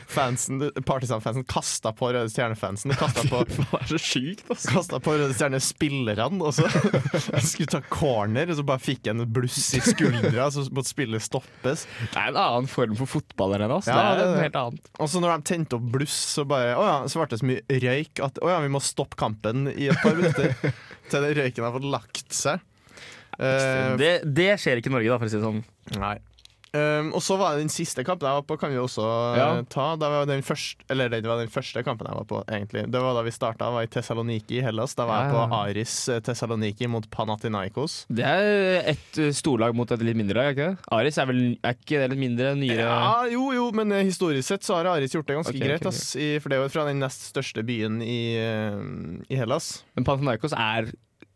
D: fansen, Partisan-fansen kasta på Røde Stjerne-fansen. De Kasta på,
C: Det var så sjukt, altså.
D: kasta på Røde Stjerne-spillerne, og så jeg skulle ta corner, og så bare fikk jeg en bluss i skuldra, så måtte spillet stoppes.
C: Det er en annen form for fotball enn oss.
D: Ja,
C: det er
D: det er
C: noe helt
D: det.
C: annet.
D: Og så når de tente opp bluss, så bare Å ja, så ble det så mye røyk at å ja, vi må stoppe kampen i et par minutter. Til den røyken har fått lagt seg. Eh,
C: det, det skjer ikke i Norge, da, for å si det sånn.
D: Nei. Um, og så var det den siste kampen jeg var på, kan vi også eh,
C: Ja.
D: ta. Da var den første, eller det var den første kampen jeg var på, egentlig. Det var da vi starta, var i Thessaloniki i Hellas. Da var
C: Ja, ja,
D: jeg på Aris eh, Thessaloniki mot Panathinaikos.
C: Det er et eh, storlag mot et litt mindre lag, er ikke det? Aris er vel er ikke det litt mindre, nyere
D: Ja, jo, jo, men eh, historisk sett så har Aris gjort det ganske
C: Ok,
D: greit.
C: ok,
D: Ass, i, for det er jo fra den nest største byen i, eh, i Hellas.
C: Men Panathinaikos er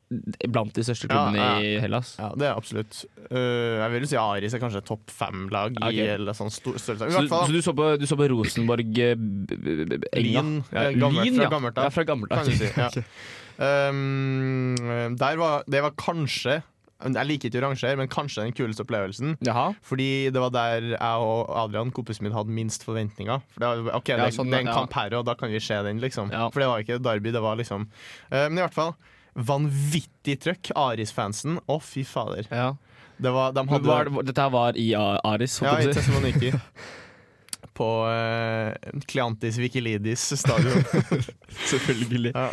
C: blant de største klubbene
D: Ja, ja.
C: i Hellas.
D: Ja, det er absolutt. Uh, jeg vil jo si Aris er kanskje topp fem-lag i
C: Ok.
D: eller sånn stor størrelse. I
C: Så,
D: hvert fall,
C: så du så på, du så på Rosenborg eh, b- b- b- Enga?
D: Lyn.
C: Ja,
D: eh, gammelt,
C: Lyn,
D: fra
C: ja.
D: gammelt av.
C: ja, fra gammelt av.
D: Kan du si, ja. Um, der var, det var kanskje jeg liker ikke oransje, her, men kanskje den kuleste opplevelsen. Fordi det var der jeg og Adrian, kompisen min, hadde minst forventninger. For det var, ok,
C: Ja,
D: det,
C: sånn,
D: det er en
C: ja.
D: kamp her, og da kan vi se den, liksom. For det var ikke Derby, det var liksom Eh, Men i hvert fall, vanvittig trøkk. Aris-fansen. Å, fy fader. Det var, de
C: Men
D: hadde
C: var, det- dette her var i A- Aris? holdt jeg på
D: ja, i
C: å si.
D: Thessaloniki. På eh, Kleantis Wikilidis stadion.
C: selvfølgelig.
D: Ja.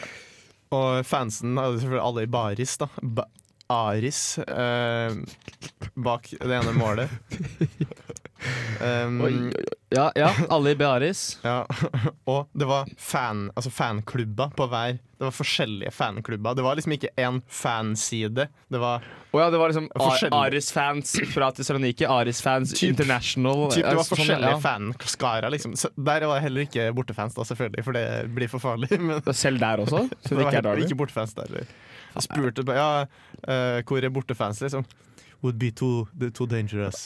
D: Og fansen hadde selvfølgelig alle i baris, da. Ba Aris eh, bak det ene målet. Um,
C: Oi, oi, oi. ja, ja, alle i Bearis.
D: Ja, og det var fan, altså fanklubber på hver. Det var forskjellige fanklubber. Det var liksom ikke én fanside. Det var
C: Å ja, det var liksom
D: Forskjellig.
C: Ar- Aris-fans fra Thessaloniki, Aris-fans International
D: Typ, det
C: eh,
D: var
C: sånn,
D: forskjellige
C: ja.
D: fanskarer, liksom. Så der var jeg heller ikke bortefans, da, selvfølgelig, for det blir for farlig. Men
C: Selv der også? Så
D: Det
C: det
D: var
C: ikke er
D: helt-
C: Derby?
D: ikke bortefans der. eller. Jeg spurte bare, ja, eh, hvor er bortefans, liksom. Would be too, too dangerous.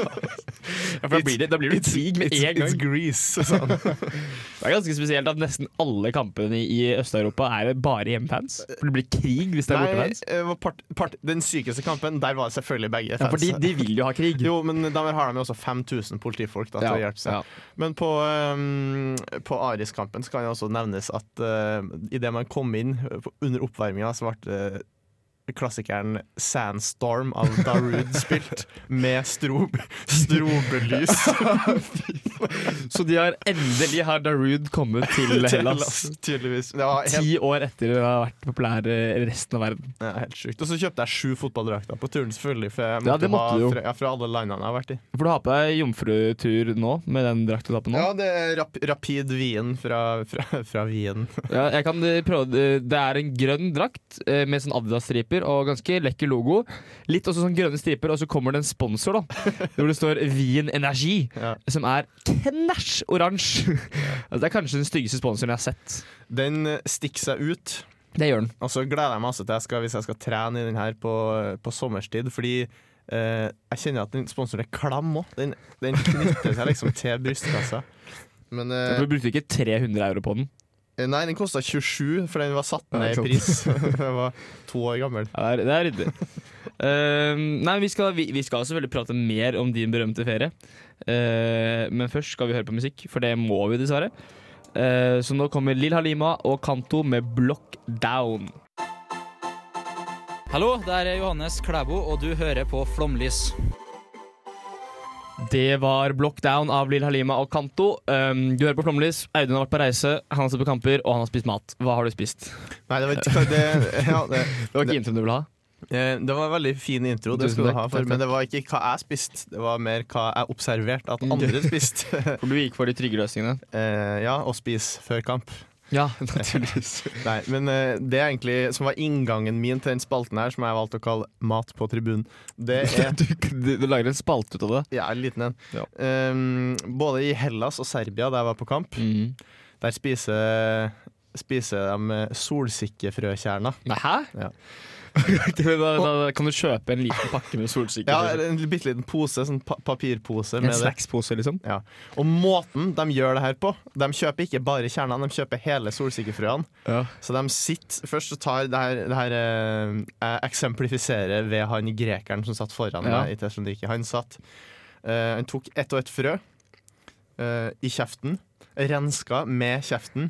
C: Ja, for da blir det, da blir det krig Ah, med en gang.
D: Greece, sånn. sa han.
C: Det er ganske spesielt at nesten alle kampene i Øst-Europa er bare hjemmefans. For det blir krig hvis det er
D: Nei,
C: bortefans.
D: eh, var part, part, den sykeste kampen, der var det selvfølgelig begge
C: Ja,
D: fans.
C: for de, de vil jo ha krig.
D: Jo, men der har de jo også 5000 politifolk da, til å
C: Ja,
D: hjelpe seg.
C: ja.
D: Men på, um, på Aris-kampen så kan det også nevnes at uh, idet man kom inn eh, på- under oppvarminga, så ble eh, klassikeren 'Sandstorm' av Darude spilt, med strob, strobelys.
C: Så de har endelig har Darude kommet til Hellas.
D: Tydeligvis. Det var helt,
C: Ti år etter det har vært populær eh, i resten av verden.
D: ja, helt sjukt. Og så kjøpte jeg sju fotballdrakter på turen, selvfølgelig. For jeg
C: Ja,
D: måtte
C: det måtte
D: ha
C: du jo.
D: Fra, ja, fra alle landene jeg har vært i.
C: For du har på deg jomfrutur nå, med den drakta du har på nå.
D: Ja, det er rap, Rapid Wien fra, fra, fra Wien.
C: Ja, jeg kan eh, prøve eh, Det er en grønn drakt eh, med sånn Adidas-striper og ganske lekker logo. Litt også sånn grønne striper, og så kommer det en sponsor, da. Hvor det står Wien Energi,
D: Ja.
C: som er knæsj oransje. Altså, det er kanskje den styggeste sponsoren jeg har sett.
D: Den eh, stikker seg ut.
C: Det gjør den.
D: Og så gleder jeg meg masse til jeg skal, hvis jeg skal trene i den her på, på sommerstid, fordi eh, jeg kjenner at den sponsoren er klam òg. Den, den knytter seg liksom til brystkassa. Men eh,
C: Du brukte ikke 300 euro på den.
D: Nei, den kosta 27, for den var satt
C: Ja,
D: ned i
C: ikke
D: pris. Jeg var to år gammel.
C: Ja, det er- det er ryddig. Ehm, nei, vi skal, vi, vi skal selvfølgelig prate mer om din berømte ferie. Eh, men først skal vi høre på musikk, for det må vi dessverre. Eh, så nå kommer Lill Halima og Kanto med 'Block Down'.
J: Hallo, det er Johannes Klæbo, og du hører på Flomlys.
C: Det var 'Block Down' av Lill Halima og Kanto. Ehm, du hører på Flomlys. Audun har vært på reise, han har sett på kamper, og han har spist mat. Hva har du spist?
D: Nei, det var ikke det, ja, det,
C: Det var ikke introen du ville ha?
D: eh, det var en veldig fin intro, det
C: Tusen
D: skal du
C: takk,
D: ha
C: takk,
D: for,
C: takk. Mm.
D: men det var ikke hva jeg spiste, det var mer hva jeg observerte at andre spiste.
C: For du gikk for de trygge løsningene?
D: Eh, ja, og spise før kamp.
C: Ja, naturligvis.
D: Nei, men eh, det er egentlig som var inngangen min til den spalten her, som jeg valgte å kalle Mat på tribunen. Det er
C: du, du, du lager en spalte ut av det.
D: ja, en liten en.
C: Ja.
D: Um, både i Hellas og Serbia, der jeg var på kamp,
C: Mhm.
D: der spiser, spiser de eh, solsikkefrøkjerner.
C: Nei, hæ?
D: Ja.
C: da, da, da kan du kjøpe en liten pakke med solsikker. liksom.
D: Ja, en bitte liten pose, sånn pa papirpose.
C: En
D: Med det.
C: snackspose, liksom?
D: Ja. Og måten de gjør det her på De kjøper ikke bare kjernene, de kjøper hele solsikkefrøene.
C: Ja.
D: Så de sitter Først så tar det her, det her eh, Jeg eksemplifiserer ved han grekeren som satt foran
C: Ja.
D: meg i Thessaloniki. Han satt eh, Han tok ett og ett frø eh, i kjeften. Renska med kjeften.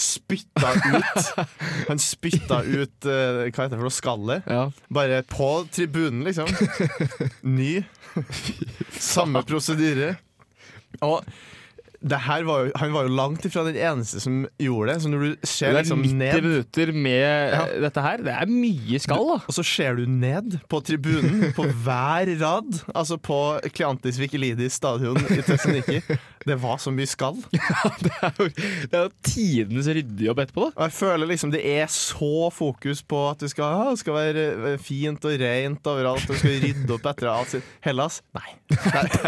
D: Spytta ut Han spytta ut eh, Hva heter det for noe? Skallet. Bare på tribunen, liksom. Ny. Samme prosedyre. Og det her var jo, han var jo langt ifra den eneste som gjorde det. Så når du
C: Det
D: ser
C: er
D: liksom
C: 90
D: ned
C: minutter med
D: Ja.
C: dette her. Det er mye skall, da.
D: Og så ser du ned på tribunen på hver rad. Altså på Kleantis Wikilidis stadion i Thessaloniki. Det var så mye skall.
C: Det er jo tidenes ryddejobb etterpå, da.
D: Og jeg føler liksom det er så fokus på at det skal, ah, det skal være eh, fint og rent overalt. Og du skal rydde opp etter alt sitt. Hellas? Nei.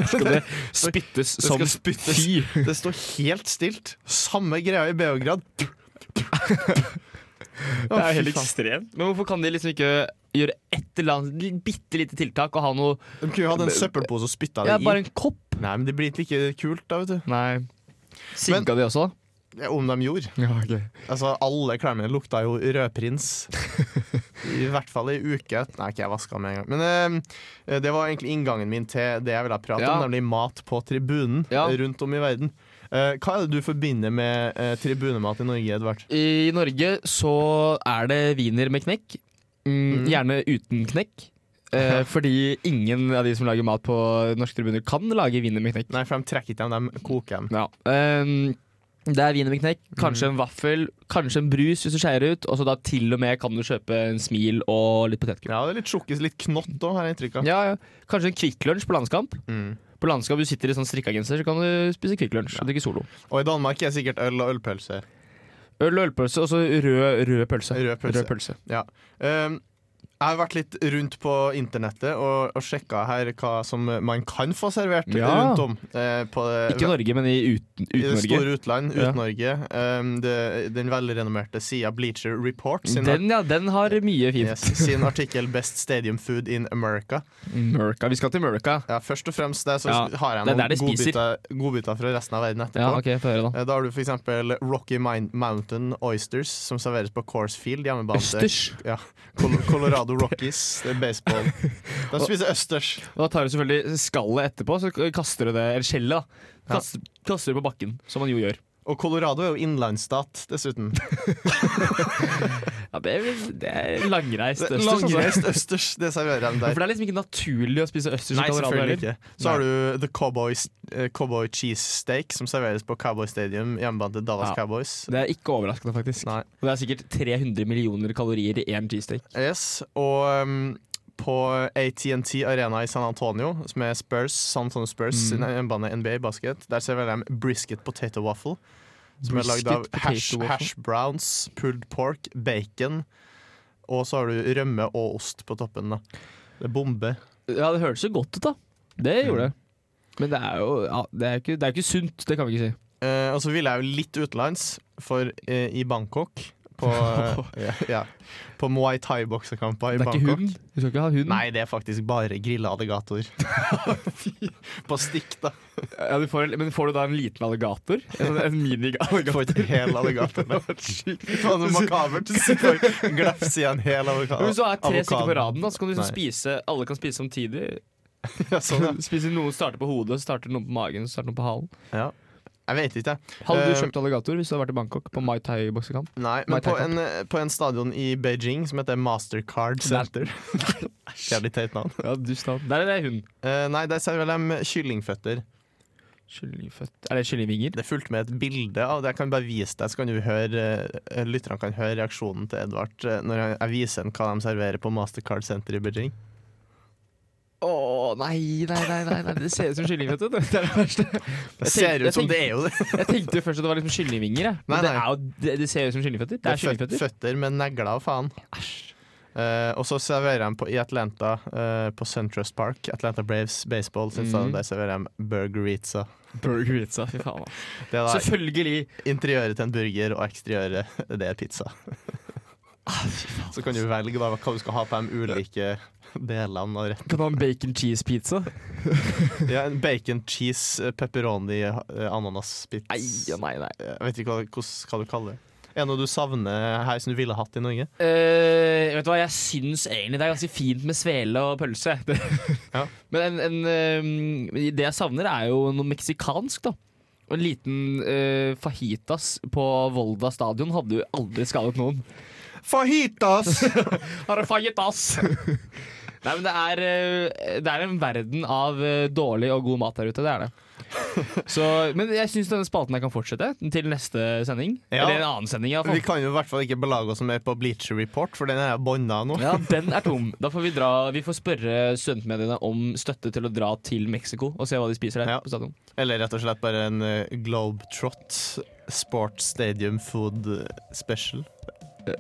C: Skal det spyttes
D: Det
C: som
D: skal spyttes.
C: fy?
D: Det står helt stilt. Samme greia i Beograd.
C: Det er jo helt
D: fy faen.
C: ekstremt. Men hvorfor kan de liksom ikke gjøre et eller annet bitte lite tiltak og ha noe
D: De kunne jo hatt en søppelpose og spytta det
C: Ja,
D: i.
C: bare en kopp.
D: Nei, men det blir ikke like kult, da, vet du.
C: Nei. Sigga de også?
D: Ja, om de gjorde. Altså, alle klærne mine lukta jo rødprins. I hvert fall i uke. Nei, ikke jeg vaska med en gang. Men eh, det var egentlig inngangen min til det jeg ville prate
C: Ja.
D: om, nemlig mat på tribunen rundt om i verden. Eh, hva er det du forbinder med eh, tribunemat i Norge, Edvard?
C: I Norge så er det wiener med knekk. Mm, gjerne uten knekk. Eh, fordi ingen av de som lager mat på norske tribuner, kan lage wiener med knekk.
D: Nei, for de trekker ikke dem, de koker dem.
C: Ja. Ehm, det er wiener med knekk,
D: Mm.
C: kanskje en vaffel, kanskje en brus hvis du skeier ut. Og så da til og med kan du kjøpe en smil og litt potetgull.
D: Ja, det er litt sjokkis, litt knott òg, har jeg inntrykk av. Mm.
C: Ja, ja. Kanskje en Kvikk Lunsj på landskamp. På landskamp du sitter i sånn strikka genser, så kan du spise Kvikk Lunsj og drikke Solo.
D: Og i Danmark er det sikkert øl og ølpølse.
C: Øl og ølpølse, og så rød, rød pølse.
D: Rød pølse.
C: Rød pølse.
D: Ja. Ehm, jeg har vært litt rundt på internettet og, og sjekka her hva som man kan få servert
C: Ja.
D: rundt om. eh, på det,
C: Ikke i Norge, men i uten,
D: I det
C: Norge.
D: store utland,
C: Ja.
D: Ut-Norge. Ehm, det- den velrenommerte sida Bleacher Report sin,
C: Den, ja, den har mye fint.
D: yes, sin artikkel 'Best Stadium Food in America'.
C: Mørka. Vi skal til Mørka.
D: Ja, først og fremst der så
C: Ja,
D: har jeg
C: det er der
D: noen
C: de spiser.
D: godbiter godbiter fra resten av verden etterpå.
C: Ja, ok, få høre da.
D: Eh, Da har du f.eks. Rocky Min Mountain Oysters, som serveres på Course Field. hjemmebane til-
C: Østers?
D: Ja. Col Colorado Rockies. Det er baseball. De spiser østers.
C: Og da tar du selvfølgelig skallet etterpå, så kaster du det, eller skjellet, da. Kaster, kaster det på bakken, som man jo gjør.
D: Og Colorado er jo innlandsstat, dessuten.
C: Ja, det er, det er langreist østers. altså.
D: Langreist østers, det serverer de
C: Ja, For
D: der.
C: det er liksom ikke naturlig å spise østers
D: Nei,
C: i Colorado.
D: selvfølgelig
C: heller.
D: ikke. Så har du The Cowboy, eh, Cowboy Cheese Steak, som serveres på Cowboy Stadium, hjemmebane til Dallas
C: Ja.
D: Cowboys.
C: Det er ikke overraskende, faktisk. Og det er sikkert 300 millioner kalorier i én cheesesteak.
D: Yes, og um, på AT&T Arena i San Antonio, som er Spurs, San Antonio Spurs
C: Mm.
D: sin hjemmebane NBA basket, der serverer de brisket potato waffle, som er lagd
C: Brisket
D: av hash,
C: potato waffle.
D: hash browns, pulled pork, bacon, og så har du rømme og ost på toppen. da. Det er bombe.
C: Ja, det hørtes jo godt ut, da. Det gjorde det. Men det er jo ja, det, er ikke, det er ikke sunt, det kan vi ikke si.
D: Eh, og så ville jeg jo litt utenlands, for eh, i Bangkok på, eh, ja, på Muay Thai-boksekamper i
C: Det er
D: Bangkok
C: ikke hund. Du skal ikke ha hund.
D: Nei, det er faktisk bare grilla alligatorer. på stikk, da.
C: Ja, du får, en- men får du da en liten alligator? En, sånn- en mini-alligator?
D: Får ikke hel alligator, nei. Faen, så makabert. Du sitter og glefser i en hel avoka-
C: Men Hvis du har tre stykker på
D: avokado.
C: raden, da, så kan du liksom
D: Nei.
C: spise alle kan spise samtidig.
D: Ja, sånn, ja.
C: Spise Noen starter på hodet, så starter noen på magen, så starter noen på halen.
D: ja. Jeg vet ikke, jeg.
C: Hadde du
D: Eh,
C: kjøpt alligator hvis du hadde vært i Bangkok på Mai Tai-boksekamp?
D: Nei,
C: Mai
D: men på
C: Tai-kamp?
D: en, eh, på en stadion i Beijing som heter Mastercard Center. Jævlig teit navn.
C: Ja, dust navn. Der er det hund.
D: Eh, nei, der serverer de kyllingføtter.
C: Kyllingføtt Er det kyllingvinger?
D: Det fulgte med et bilde av det. Jeg kan bare vise deg, så kan du høre eh, lytterne kan høre reaksjonen til Edvard eh, når jeg, jeg viser ham hva de serverer på Mastercard Center i Beijing.
C: Å nei, nei, nei, nei, nei, det ser ut som kyllingføtter. Det er det verste.
D: Det ser ut som det er jo det.
C: Jeg tenkte jo først at det var liksom kyllingvinger, jeg.
D: Nei,
C: men det,
D: nei.
C: er jo, det, det ser jo ut som kyllingføtter. Det
D: Det
C: er
D: er føt-
C: kyllingføtter.
D: føtter med negler og faen. Eh, og så serverer de på, i Atlanta, eh, på Suntrust Park, Atlanta Braves baseball,
C: Mm.
D: synes jeg, der serverer de burgeritza.
C: Burger pizza, fy faen. da.
D: Det er da
C: Selvfølgelig.
D: interiøret til en burger, og eksteriøret, det er pizza. Ah, Så kan du velge da, hva du skal ha på de ulike delene av retten.
C: Kan du ha en bacon cheese pizza?
D: Ja, en bacon, cheese, eh, pepperoni, eh, ananas, pizza.
C: Nei, ja, nei, nei.
D: Jeg vet ikke hva, hvordan- hva du kaller det. Er det noe du savner her som du ville hatt i Norge?
C: Eh, vet du hva, jeg syns egentlig det er ganske fint med svele og pølse. Det-
D: Ja.
C: Men en, en, eh, det jeg savner, er jo noe meksikansk, da. Og en liten eh, fajitas på Volda stadion hadde jo aldri skadet noen.
D: Fajitas!
C: Har du fajitas? Nei, men det er, eh, det er en verden av eh, dårlig og god mat der ute. Det er det. Så, men jeg syns denne spalten her kan fortsette til neste sending.
D: Ja.
C: Eller en annen sending,
D: Vi
C: iallfall.
D: kan jo i hvert fall ikke belage oss mer på Bleacher Report, for den er bånda nå.
C: Ja, den er tom. Da får vi, dra, vi får spørre studentmediene om støtte til å dra til Mexico og se hva de spiser der.
D: Ja.
C: på stadion.
D: Eller rett og slett bare en eh, Globetrot Sports Stadium Food eh, Special.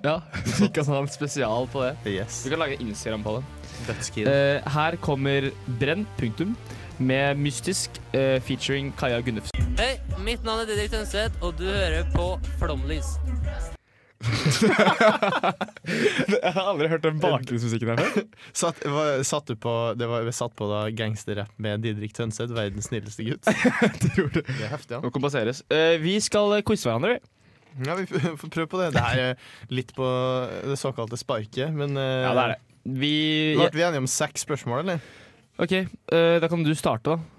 C: Ja, Vi kan ha en spesial på det.
D: Yes.
C: Vi kan lage Instagram på det.
D: Dødskid.
C: Eh, her kommer Brenn, punktum, med Mystisk eh, featuring Kaja Gunnufsen.
K: Hei, mitt navn er Didrik Tønseth, og du hører på Flomlys.
C: Jeg har aldri hørt den bakgrunnsmusikken her før.
D: Satt, hva- satt du på, det var satt på da gangsterrapp med Didrik Tønseth, verdens snilleste gutt. det. er heftig, ja.
C: Må kompenseres. Eh, vi skal eh, quize hverandre, vi.
D: ja vi f- får prøve på det. Det er eh, litt på eh, det såkalte sparket, men eh,
C: Ja, det er det. Vi
D: Ble vi enige om seks spørsmål, eller?
C: OK, eh, da kan du starte, da.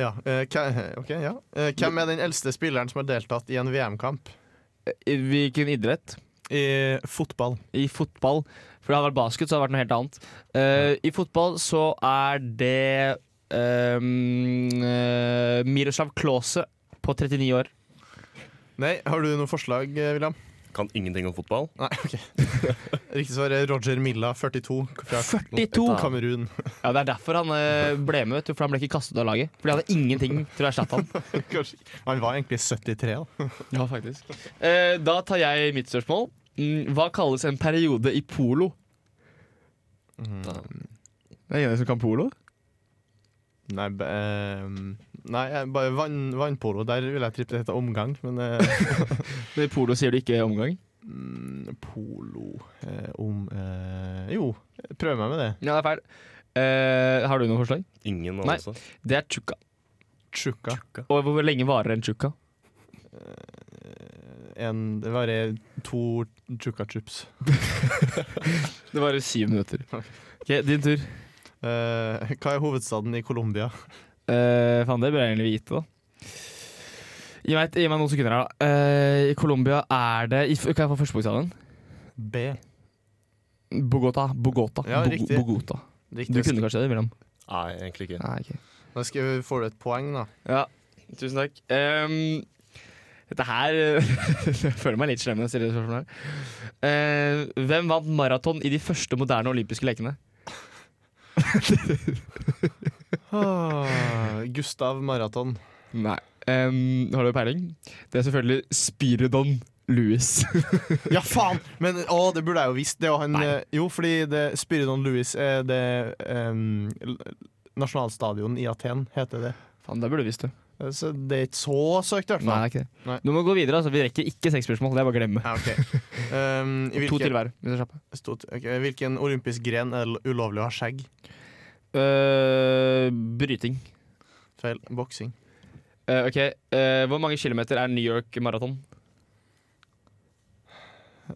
D: Ja. eh, hva- ok, ja. Eh, hvem er den eldste spilleren som har deltatt i en VM-kamp?
C: I Eh, hvilken idrett?
D: I fotball.
C: I fotball. For det hadde vært basket, så hadde det vært noe helt annet. Eh, I fotball så er det ehm, eh, Miroslav Klause på 39 år.
D: Nei, har du noe forslag, eh, William? Kan ingenting om fotball. Nei, ok Riktig svar er Roger Milla, 42. Fra eh,
C: 42?
D: Kamerun.
C: Ja, Det er derfor han eh, ble med, vet du, for han ble ikke kastet av laget. For de hadde ingenting til å erstatte han.
D: Kanskje. Han var egentlig 73, da.
C: Ja, faktisk. Eh, da tar jeg mitt spørsmål. Mm, Hva kalles en periode i polo?
D: Mm.
C: Det er ingen som kan polo?
D: Nei, b- ehm, nei jeg- bare vann, vannpolo. Der ville jeg trippet etter omgang, men eh,
C: Men i polo sier du ikke omgang?
D: mm, Polo eh, om eh, Jo, prøv meg med det.
C: Ja, det er feil. Eh, har du noen forslag?
E: Ingen
C: Nei,
E: anelse.
C: det er chukka.
D: Chukka.
C: Og hvor lenge varer en chukka?
D: En, det varer to chukka chups.
C: Det varer syv minutter. Ok, Din tur.
D: Eh, hva er hovedstaden i Colombia?
C: Eh, Faen, det bør jeg egentlig vite, da. Gi meg, et, gi meg noen sekunder her, da. Eh, I Colombia er det i, Kan jeg få første bokstaven?
D: B.
C: Bogota. Bogota.
D: Ja,
C: Bo-
D: riktig.
C: Bogota.
D: Riktig.
C: Du kunne kanskje det, William?
E: Nei, egentlig ikke.
C: Nei, ok.
D: Da skal, får du et poeng, da.
C: Ja, tusen takk. Ehm, dette her Jeg føler meg litt slem når jeg stiller det spørsmålet her. Eh, hvem vant maraton i de første moderne olympiske lekene?
D: Ah, Gustav Maraton.
C: Nei. Ehm, har du peiling? Det er selvfølgelig Spiridon Louis.
D: Ja, faen! Men å, det burde jeg jo visst. Det er jo han, eh, jo, fordi det, Spyridon Louis er det em, l- nasjonalstadion i Aten, heter det.
C: Faen, det burde du visst, du.
D: Eh, Så det er ikke så søkt, i
C: Nei,
D: hvert fall.
C: det er ikke det.
D: Nei.
C: Du må gå videre, altså. Vi rekker ikke seks spørsmål. Det er bare å glemme.
D: Ja, ok. Em, i
C: To
D: hvilken-
C: til hver. Hvis jeg slapper.
D: Stort, ok, Hvilken olympisk gren er det ulovlig å ha skjegg?
C: Eh, bryting.
D: Feil. Boksing.
C: Eh, ok, eh, Hvor mange kilometer er New York maraton?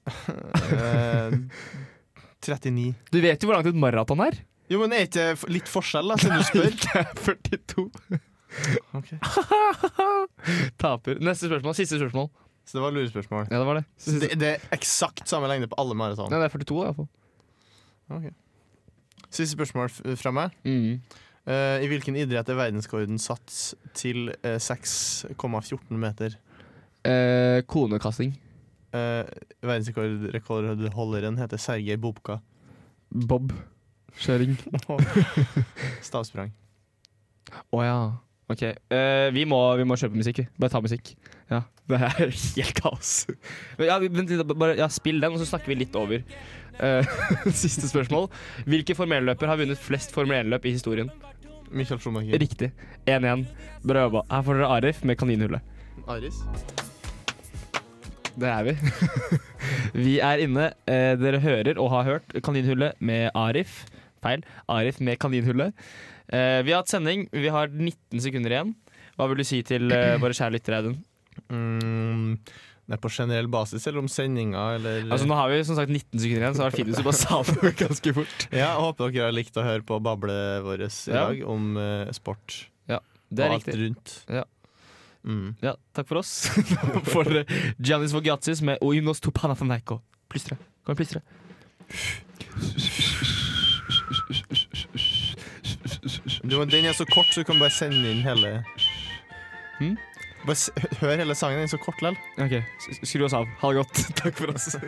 D: Eh, 39.
C: Du vet jo hvor langt et maraton er?
D: Jo, men er ikke f- litt forskjell, da, siden du spør?
C: Det er 42.
D: Ok.
C: Taper. Neste spørsmål. Siste spørsmål.
D: Så det var lurespørsmål.
C: Ja, det var det.
D: Så Det, det er eksakt samme lengde på alle maraton.
C: Nei, det er 42, i hvert fall.
D: Ok. Siste spørsmål f- fra meg.
C: Mm.
D: Eh, I hvilken idrett er verdensrekorden satt til eh, 6,14 meter?
C: Eh, konekasting.
D: Uh, Verdensrekordholderen heter Sergej Bobka.
C: Bob. Kjøring.
D: Stavsprang.
C: Å ja. OK. Eh, vi, må, vi må kjøpe musikk, vi. Bare ta musikk. Ja. Det her er helt kaos. Men Ja, vi- vent litt, da, bare, ja, spill den, og så snakker vi litt over. Eh, siste spørsmål. Hvilke Formel 1-løper har vunnet flest Formel 1-løp i historien?
D: Michael Schumacher.
C: Riktig. 1-1. Bra jobba. Her får dere Arif med kaninhullet.
D: Aris.
C: Der er vi. vi er inne. Eh, dere hører og har hørt Kaninhullet med Arif. Feil. Arif med Kaninhullet. Eh, vi har hatt sending. Vi har 19 sekunder igjen. Hva vil du si til eh, våre kjære lyttere, Audun?
D: Mm, det er på generell basis, eller om sendinga, eller
C: Altså, nå har vi som sagt 19 sekunder igjen, så det var fint hvis du bare sa det ganske fort.
D: Ja, jeg Håper dere har likt å høre på bablet vårt i
C: Ja.
D: dag om eh, sport.
C: Det er
D: og
C: riktig.
D: alt rundt.
C: Ja.
D: Mm.
C: Ja, takk for oss. Nå får dere eh, Giannis Vogiatsis med Oinos to Panathanaiko. Plystre. Kom igjen, plystre.
D: Du, men den er så kort, så du kan bare sende inn hele
C: Hmm?
D: Bare s hør hele sangen, den er så kort likevel.
C: Ok, s- skru oss av. Ha det godt. Takk for oss.